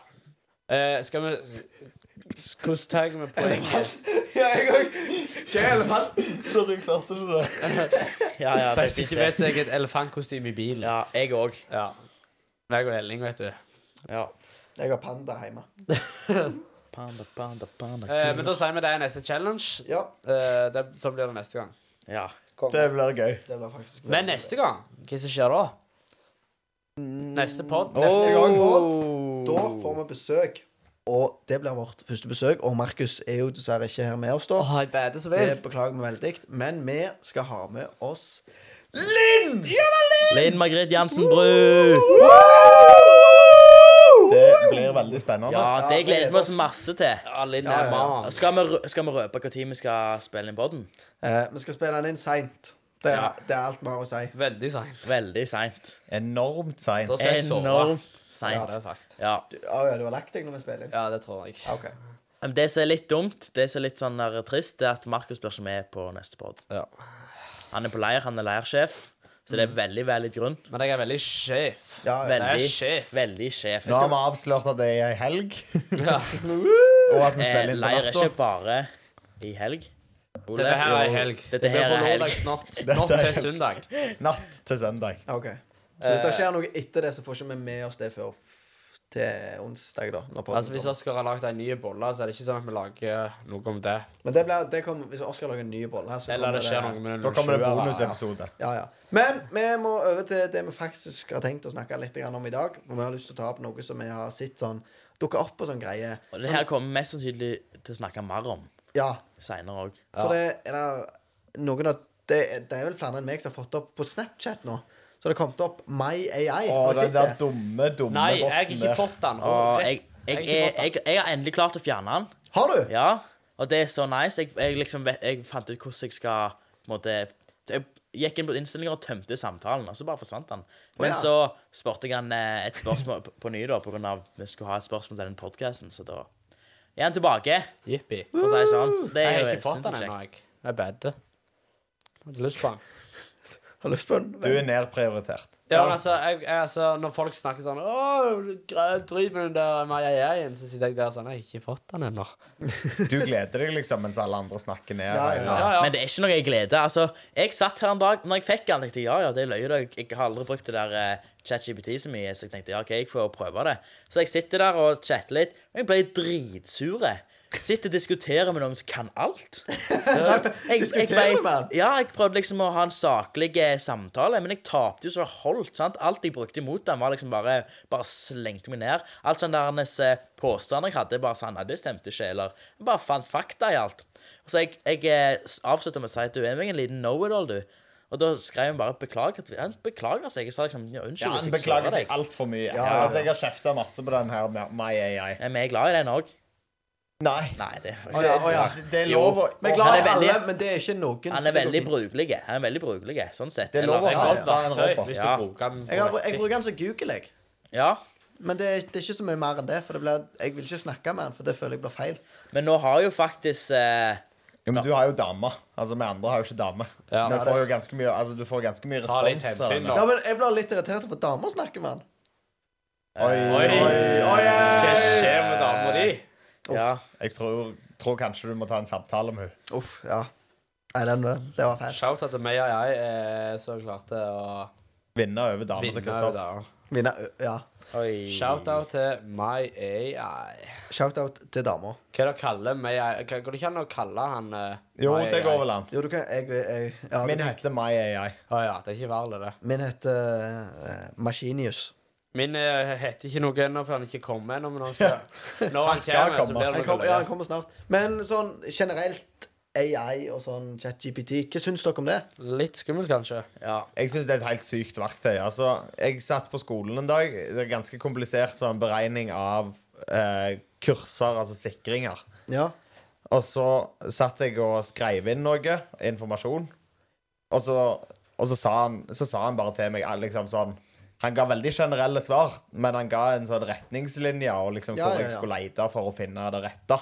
Eh, skal vi s- Hvordan tar vi [laughs] poenget? ja, jeg òg. Hva er elefanten? Sorry, jeg klarte ikke det. Ja, ja, det er Hvis fint, ikke det. vet så er jeg et elefantkostyme i bilen. Ja, jeg òg. Ja. Meg og Elling, vet du. Ja. Jeg har panda hjemme. Panda, panda, panda. Eh, men da sier vi det er neste challenge. Ja, Eh, det, så blir det neste gang. Ja. Det blir gøy. det blir faktisk Men neste gang, hva som skjer da? Mm, Neste pod? Neste gang pod. Oh. Da får vi besøk, og det blir vårt første besøk. Og Markus er jo dessverre ikke her med oss, da. jeg bader så Det beklager vi veldig. Men vi skal ha med oss Linn! Linn Margrethe Jansen Bru. Woo! Det blir veldig spennende. Ja, det Ja, gleder gleder vi oss oss. masse til. Alle inn Ja, der, ja. mann. Skal vi, rø- skal vi røpe når vi skal spille inn podden? Eh, vi skal spille den inn seint. Det, er- det er alt vi har å si. Veldig seint. Veldig seint. Enormt seint. Da skal jeg sove. Enormt Ja, det seint. er sagt. Ja. Du, å ja, du har lagt deg når vi spiller inn? Ja, det tror jeg. Ja, ok. Men Det som er litt dumt, det som er litt sånn der trist, det er at Markus blir ikke med på neste pod. Ja. Han er på leir, han er leirsjef, så Mm. det er veldig veldig grunn. Men jeg er veldig sjef. Ja, ja. Jeg er Veldig, sjef. veldig sjef. Nå har vi avslørt at det er ei helg, [laughs] Ja. og at vi Eh, spiller inn på leir er natta. ikke bare i helg. Ole, Dette her er jo, helg. Dette her er helg. Natt, er natt til helg. søndag. Natt til søndag. Ok. Så hvis Eh. det skjer noe etter det, så får ikke vi med oss det før til onsdag, da. Når podden Altså, hvis kommer. Oskar har lagd en ny bolle, så er det ikke sånn at vi lager noe om det. Men det blir, det kommer- hvis Oskar lager en ny bolle her, så Eller det skjer det- noe med Da kommer det 07-ere. bonusepisode. Ja, ja. Men vi må over til det vi faktisk har tenkt å snakke litt grann om i dag. For vi har lyst til å ta opp noe som vi har sett sånn dukke opp på sånn greie. [laughs] Og det her kommer vi mest sannsynlig til å snakke mer om Ja, seinere òg. for det er det noen av det, det er vel flere enn meg som har fått opp på Snapchat nå. Så det har kommet opp My AI. Å, Har du den sett der det? dumme, dumme Nei, jeg har botten ikke der. fått den. Og jeg, jeg, jeg, har ikke jeg, fått den. har endelig klart å fjerne den. Har du? Ja, og det er så nice. Jeg, jeg, liksom vet, jeg fant ut hvordan jeg skal på en måte, Jeg gikk inn på innstillinger og tømte samtalen, og så bare forsvant den. Men Å, ja. så spurte jeg han eh, et spørsmål på, på ny, da, på grunn av vi skulle ha et spørsmål til den podkasten, så da er han tilbake, Jippi. for å si det sånn. Så det Jeg er har jo ikke fått den sinnssykt ennå, kjekt. jeg. Jeg bedde. Hadde lyst på den. Har lyst på en? Du er nedprioritert. Ja, men altså, jeg, jeg, altså, når folk snakker sånn Åh, gre- drit med den der Maja-Jeien, så sitter jeg der sånn Jeg har ikke fått den ennå. Du gleder deg liksom mens alle andre snakker ned. Ja, ja. Ja, ja. Men det er ikke noe jeg gleder. Altså, jeg satt her en dag når jeg fikk den, tenkte jeg, ja, ja, det løy det. Jeg har aldri brukt det der eh, ChatGPT så mye, så jeg tenkte ja, OK, jeg får prøve det. Så jeg sitter der og chatter litt, og jeg ble dritsure. Sitter og diskuterer med noen som kan [laughs] alt. Sant? Jeg, jeg, Diskuterer med han? ja, jeg prøvde liksom å ha en saklig eh, samtale, men jeg tapte jo så det holdt. sant? Alt jeg brukte imot den, var liksom bare, bare slengte meg ned. Alt sånn der hennes eh, påstander jeg hadde, bare sånn, nei, det stemte ikke, eller jeg bare fant fakta i alt. Så jeg, jeg eh, s- avslutta med å si at du er meg en liten know-it-all, du. Og da skrev hun bare beklager. at- Han beklager seg. Jeg sa liksom ja, unnskyld Ja, hvis han jeg sårer beklager seg deg. altfor mye. Sånn Ja, ja, ja. Altså, jeg har kjefta masse på den her med My AI. Men vi er glad i den òg. Nei. Nei, det er Å faktisk ja, å ja. Det er lov å Vi er å glad han i er veldig- alle, men det er ikke noen Han som er det går veldig fint. brukelig. Han er veldig brukelig, sånn sett. Det er lov å Eller- ha Godt en verktøy robot. hvis Ja. du bruker den. på Jeg, har, jeg riktig. bruker den som Google, jeg. Ja. Men det, er- det er ikke så mye mer enn det. For det blir, jeg vil ikke snakke med den, for det føler jeg blir feil. Men nå har jo faktisk eh, Jo, men du har jo dame. Altså, vi andre har jo ikke dame. Ja. Du får jo ganske mye, altså, du får ganske mye Ta litt respons fra hensyn, henne. da. Ja, men Jeg blir litt irritert over at damer snakker med den. Oi, Oi. Oi, Hva oi. skjer med dama di? Ja. Jeg tror, tror kanskje du må ta en samtale med henne. Uff, ja. Nei, den, det var feil. Shout out til Maja-Jeg, eh, som klarte å Vinne over dama til vinne Kristoffer. der. Mine, ø- ja. Oi. Shout out til Maja-Jeg. Shout-out til damer. Hva er det å kalle Maja-Jeg? Går det ikke an å kalle han eh, Jo, Mai det AI? går vel an. Jo, du kan Jeg, jeg ja, du Min kan- heter My AI. Å ja, det er ikke verre, det. Min heter eh, Maskinius. Min eh, heter ikke noe ennå, for han er ikke kommet ennå. Men han skal Når han skal kommer, så komme. blir Han det kom, noe ja, han gøy. kommer snart. Men sånn generelt AI og sånn ChatGPT, hva syns dere om det? Litt skummelt, kanskje. Ja. Jeg syns det er et helt sykt verktøy. Altså, jeg satt på skolen en dag. Det er ganske komplisert sånn beregning av eh, kurser, altså sikringer. Ja. Og så satt jeg og skrev inn noe informasjon. Og så, og så, sa, han, så sa han bare til meg eh, liksom sånn Han ga veldig generelle svar, men han ga en sånn retningslinje og liksom Ja, hvor ja, jeg ja. skulle lete for å finne det rette.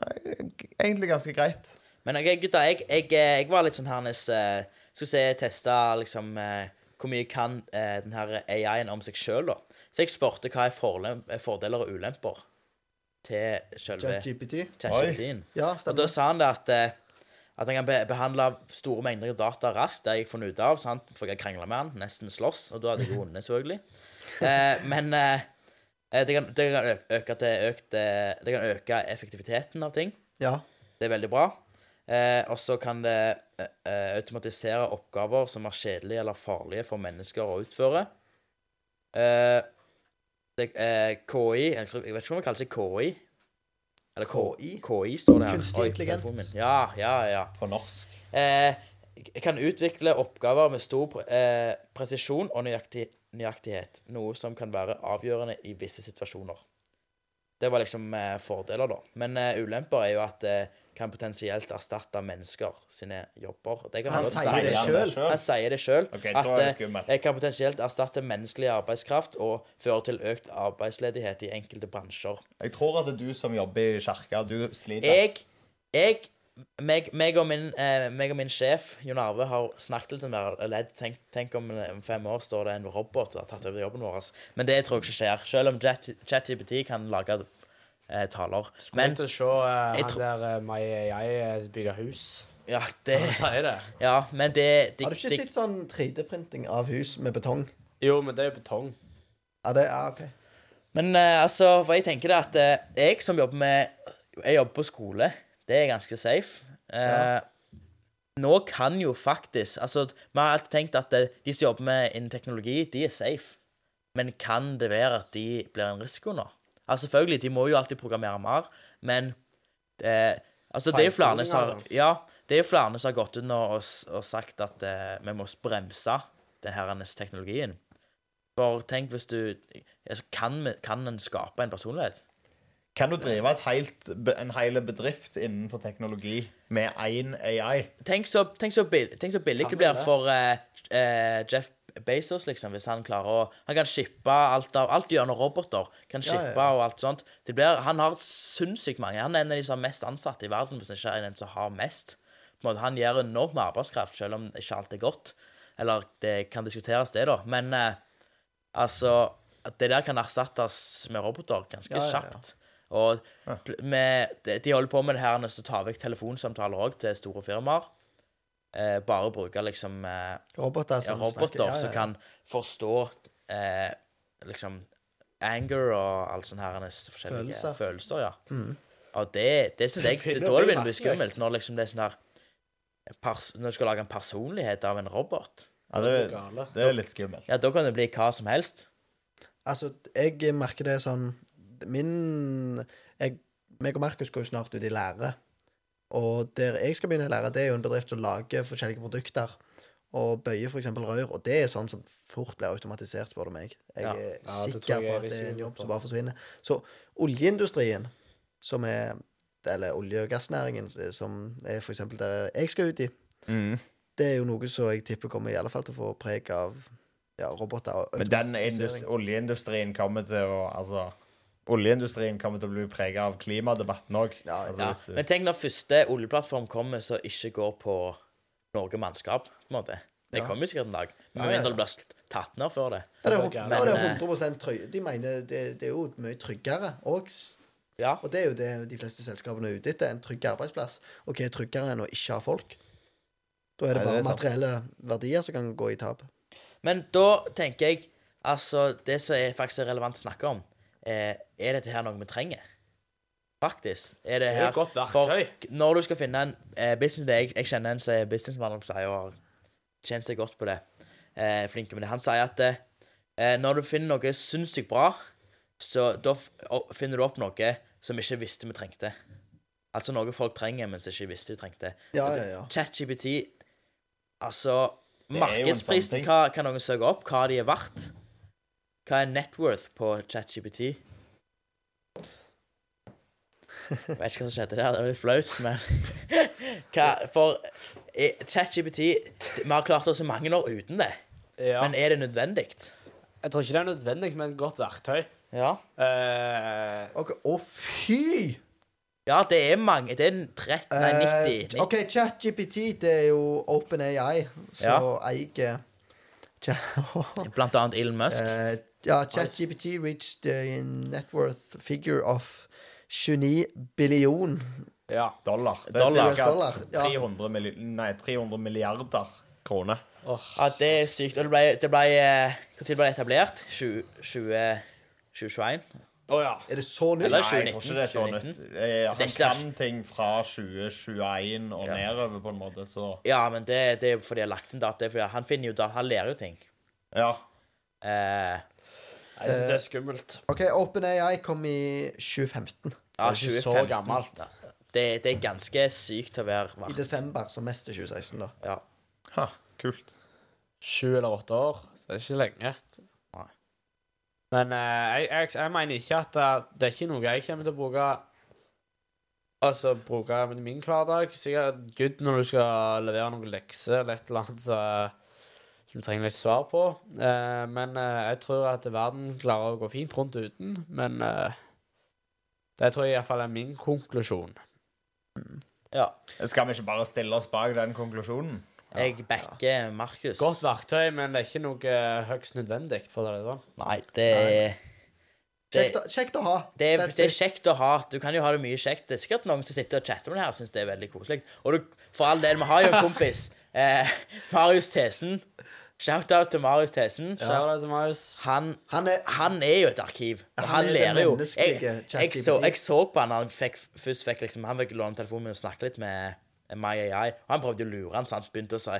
Eh, Egentlig ganske greit. Men ok, gutta, jeg, jeg, eh, jeg var litt sånn hernes eh, Skulle se, teste liksom eh, hvor mye kan eh, den her AI-en om seg sjøl, da. Så jeg spurte hva er forlem, eh, fordeler og ulemper til sjølve ChatGPT? ChatGPT-en. Ja, Og da stemmer. sa han det at eh, at han kan be behandle store mengder data raskt. Det har jeg funnet ut av. Sant? For jeg krangla med han, nesten slåss, og da hadde jeg jo vunnet, selvfølgelig. Eh, men eh, eh, det kan, det kan ø- øke til økt eh, Det kan øke effektiviteten av ting. Ja. Det er veldig bra. Eh, og så kan det eh, eh, automatisere oppgaver som er kjedelige eller farlige for mennesker å utføre. Eh, det, eh, KI Jeg tror- jeg vet ikke om det kalles KI. Eller KI? KI, KI står det her. Kunstig Oi, intelligens. telefonen min. Ja, ja, ja. På norsk. Eh, kan utvikle oppgaver med stor pre eh, presisjon og nøyaktig, nøyaktighet, noe som kan være avgjørende i visse situasjoner. Det var liksom eh, fordeler, da. Men eh, ulemper er jo at det kan potensielt erstatte mennesker sine jobber. Det kan man Han godt sier si. det han selv. selv? Han sier det sjøl. Ok, da at er det eh, skummelt. jeg kan potensielt erstatte menneskelig arbeidskraft og føre til økt arbeidsledighet i enkelte bransjer. Jeg tror at det er du som jobber i kirka, du sliter. Jeg, jeg meg, meg, og min, eh, meg og min sjef, Jon Arve, har snakket litt om det. Eller tenk, tenk om eh, om fem år står det en robot og har tatt over jobben vår. ass. Men det tror jeg ikke skjer. Selv om Chat- ChatGPT kan lage eh, taler. Men Men til å se eh, jeg han tror- der eh, Mai jeg bygge hus. ja, det, Han sier det. ja, men det, det, Har du ikke det sett sånn 3D-printing av hus med betong? Jo, men det er jo betong. Ja, det er ah, OK. Men eh, altså, for jeg tenker det at eh, jeg som jobber med Jeg jobber på skole. Det er ganske safe. Eh, Nå kan jo faktisk Altså, vi har alltid tenkt at eh, de som jobber med innen teknologi, de er safe. Men kan det være at de blir en risiko nå? Altså, selvfølgelig, de må jo alltid programmere mer, men eh, Altså, det er jo flere som har Feilkoder, Ja, det er jo flere som har gått ut nå og, s- og sagt at eh, vi må bremse den her teknologien. For tenk hvis du altså, kan, vi- kan en skape en personlighet? Kan du drive et helt, be- en hel bedrift innenfor teknologi med én AI? Tenk så, tenk så, bill- tenk så billig Kan det vi blir det? for eh, eh, Jeff Bezos, liksom, hvis han klarer å Han kan shippe alt av Alt gjennom roboter. Kan Ja, ja, shippe ja. og alt sånt. Det blir, han har sinnssykt mange. Han er en av de som har mest ansatte i verden, hvis han ikke er den som har mest. På en måte, han gjør enormt med arbeidskraft, selv om ikke alt er godt. Eller det kan diskuteres, det, da. Men eh, Altså, at det der kan erstattes med roboter ganske Ja, ja, ja. kjapt. Og pl- med, de, de holder på med det her når de tar vekk telefonsamtaler òg til store firmaer. Eh, bare bruke liksom eh, Roboter ja, som roboter snakker. Ja, ja, som ja. kan forstå eh, liksom anger og alt sånne her forskjellige Følelser. Mm. følelser. ja. Og det, det synes jeg det, er Da det begynner å bli skummelt, når liksom det er sånn her pers, Når du skal lage en personlighet av en robot. Ja, det, det er litt skummelt. Ja, da kan det bli hva som helst. Altså, jeg merker det sånn Min jeg, meg og Markus går jo snart ut i lære. Og der jeg skal begynne i lære, det er jo en bedrift som lager forskjellige produkter. Og bøyer f.eks. rør. Og det er sånn som fort blir automatisert, spør du meg. Jeg Ja. er Ja, det tror sikker jeg på er at det er en visjon jobb på. som bare forsvinner. Så oljeindustrien, som er Eller olje- og gassnæringen, eh, som er f.eks. der jeg skal ut i, Mm. det er jo noe som jeg tipper kommer i alle fall til å få preg av ja, roboter og Men den automatisering. indus- oljeindustrien kommer til å Altså, oljeindustrien kommer til å bli prega av klimadebatten òg. Ja, altså, Ja, hvis du- men tenk når første oljeplattform kommer som ikke går på noe mannskap. på en måte. Det Ja. kommer jo sikkert en dag. Med Ja, ja, mindre ja. det blir st- tatt ned før det. Ja, det er, Det er hund- gærent. ja, det er Men, 100 trygg. De mener det, det er jo mye tryggere òg. Ja, Og det er jo det de fleste selskapene er ute etter. En trygg arbeidsplass. Og hva er tryggere enn å ikke ha folk? Da er det Nei, det bare er sant. materielle verdier som kan gå i tap. Men da tenker jeg Altså, det som er faktisk er relevant å snakke om, eh, er dette her noe vi trenger? Faktisk. Er det Det er her et godt For verktøy. når du skal finne en eh, business jeg, jeg kjenner en som er businessmann og sier, og har tjent seg godt på det. Eh, flinke med det. Han sier at eh, eh, når du finner noe sinnssykt bra, så da f å- finner du opp noe som ikke visste vi trengte. Altså noe folk trenger, men som ikke visste de trengte. Ja, Og det- ja, ja. ChatGPT Altså, Det er jo en markedsprisen, sånn ting. hva kan noen søke opp? Hva de er verdt? Hva er networth på ChatGPT? [laughs] Jeg vet ikke hva som skjedde der, det var litt flaut, men [laughs] hva, For eh, ChatGPT Vi har klart oss i mange år uten det, Ja. men er det nødvendig? Jeg tror ikke det er nødvendig, men et godt verktøy. Ja. Eh, Ok, Å, fy! ja, det er mange. Det er 30, nei, Eh, 90. OK, ChatGPT, det er jo OpenAI som eier Chat- 90. Blant annet Elon Musk. [laughs] Eh, ja, ChatGPT reached a net worth figure of 29 billion ja. Dollar. Det Dollar. er ca. Dollar, altså. ja. 300, milli- nei, 300 milliarder kroner. Ja, det er sykt. Og det ble, det ble eh, Hvor tid ble det etablert? 20, 20, 2021? Å ja. Er det så nytt? Eller- Nei, jeg tror ikke det er så 2019. nytt. Eh, Det er ikke Han det. kan ting fra 2021 og Ja. nedover, på en måte, så Ja, men det, det er fordi jeg har lagt inn data. Det er fordi han finner jo data, han lærer jo ting. Ja. Eh, Jeg syns Eh. det er skummelt. OK, OpenAI kom i 2015. ja, Det er ikke så 2015. gammelt. Ja. Det, det er ganske sykt å være I vart. desember, som mest til 2016, da. Ja. Ha, kult. Sju eller åtte år. Det er ikke lenge. Men eh, jeg, jeg, jeg mener ikke at eh, det, det er ikke noe jeg kommer til å bruke Altså bruke i min hverdag. Sikkert good når du skal levere noen lekser eller et eller annet så- som du trenger litt svar på. Eh, men eh, jeg tror at verden klarer å gå fint rundt uten. Men eh, det tror jeg iallfall er min konklusjon. Ja. Skal vi ikke bare stille oss bak den konklusjonen? Jeg backer Markus. Godt verktøy, men det er ikke noe høyst nødvendig. for det sånn. Nei, det er det, Kjekt, å- kjekt å ha. det, er, That's det er it. kjekt å ha. Du kan jo ha det mye kjekt. Det er sikkert noen som sitter og chatter med det her og syns det er veldig koselig. Og du, for all del, vi har jo en kompis. [laughs] Eh, Marius Thesen. Shout-out til Marius Thesen. Kjære deg, Marius. Han, Han er han er jo et arkiv. Og Han han, er det lærer jo. Jeg, menneskelige jeg, ChatGPT. så, jeg så på han da han fikk, først fikk liksom, Han fikk låne telefonen min og snakke litt med MyAI. Og han prøvde å lure han, så han begynte å si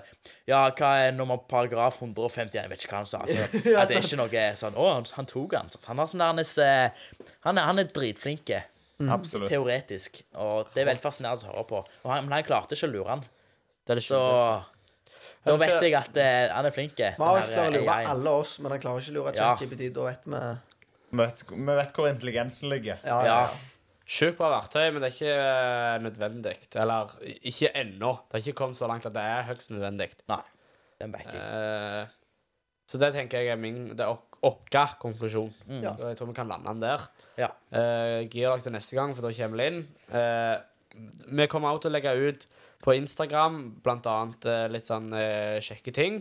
Ja, hva er nummer paragraf 151? Jeg vet ikke hva han sa. Altså, [laughs] Ja, at det er ikke noe sånn Å, han, han tok han. Sant? Han, har sånn der, han, er, s- han, er, han er dritflink Mm. Absolutt. teoretisk, og det er veldig fascinerende å høre på. Og han, men han klarte ikke å lure han. Det er det Så sjukeste. da vet jeg at eh, han er flink. den Marius her, eh, klarer å lure AI. alle oss, men han klarer ikke å lure Ja. ChatGPT. Da vet vi ja, Vi vet, vi vet hvor intelligensen ligger. ja, ja. Ja. Sjukt bra verktøy, men det er ikke eh, nødvendig. Eller i- ikke ennå. Det har ikke kommet så langt at det er høyst nødvendig. Nei. Den backer jeg. Eh, så det tenker jeg er min Det er ok- vår konklusjon. Mm. Ja. Og jeg tror vi kan lande den der. Ja. Eh, Gir dere til neste gang, for da kommer vi inn. Eh, vi kommer også til å legge ut på Instagram blant annet eh, litt sånn eh, kjekke ting.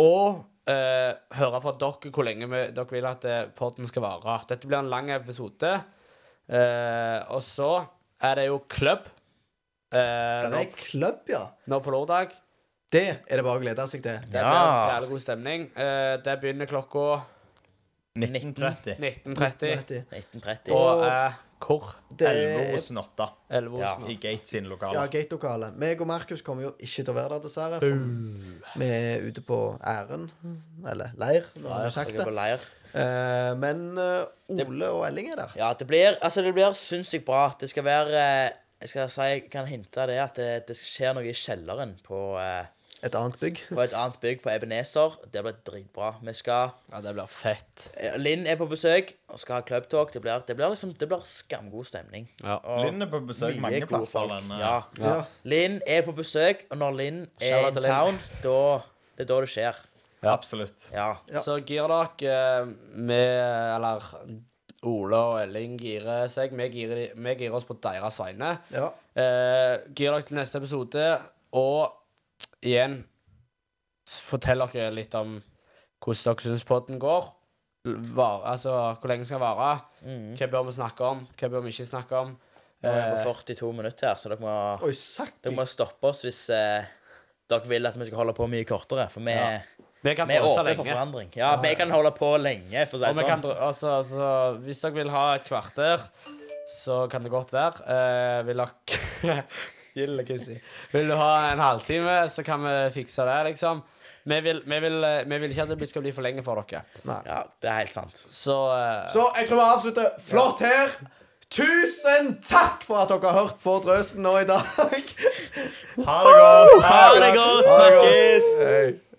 Og eh, høre fra dere hvor lenge vi, dere vil at eh, podden skal vare. Dette blir en lang episode. Eh, og så er det jo klubb eh, Det nå, er klubb, ja. nå på lørdag. Det er det bare å glede seg til. Det Ja. blir jævlig god stemning. Eh, det begynner klokka 1930. 19.30 Vet du. 1930. på eh, hvor? Det Elve er hos Notta Elvosen. i Gates sine ja, lokaler. gate-lokalet. Meg og Markus kommer jo ikke til å være der, dessverre. For vi er ute på ærend. Eller leir, nå har vi sagt Jeg er på det. leir. Eh, men eh, Ole og Elling er der. Ja, det blir, altså det blir sinnssykt bra. Det skal være eh, Jeg skal si, jeg kan hinte det at det, det skjer noe i kjelleren på, eh, Et annet bygg. på et annet bygg på Ebenezer. Det blir dritbra. Vi skal Ja, det blir fett. eh, Linn er på besøk og skal ha clubtalk. Det blir, det blir liksom Det blir skamgod stemning. Ja. Og Linn er på besøk mye mange gode plasser. eh, folk. Linn. Ja. Ja. Linn er på besøk, og når Linn er Shout out in til Linn. town, da Det er da det skjer. Absolutt. Ja. Ja. Så gir dere eh, med Eller Ole og Elling girer seg. Vi girer, de- vi girer oss på deres vegne. Ja. Eh, gir dere til neste episode. Og igjen s- Fortell dere litt om hvordan dere syns podden går. L- Var, altså, hvor lenge skal den vare? Mm. Hva bør vi snakke om? Hva bør vi ikke snakke om? Eh, Nå er vi på 42 minutter her, så dere må Oi, sakki. Dere må stoppe oss hvis eh, dere vil at vi skal holde på mye kortere. For vi, Ja. vi kan vi er pause åpne for lenge. forandring. Ja, vi kan holde på lenge. For å Og si vi det kan, sånn. dra- altså, altså, hvis dere vil ha et kvarter, så kan det godt være. Eh, vil dere [laughs] Gilde Krissi. Vil du ha en halvtime, så kan vi fikse det, liksom. Vi vil, vi vil, eh, vi vil ikke at det blir- skal bli for lenge for dere. Nei. Ja, det er helt sant. Så, eh, Så jeg tror vi avslutter flott her. Tusen takk for at dere har hørt på Drøsen nå i dag. [laughs] Ha det godt! Ha det godt! Snakkes! Hei.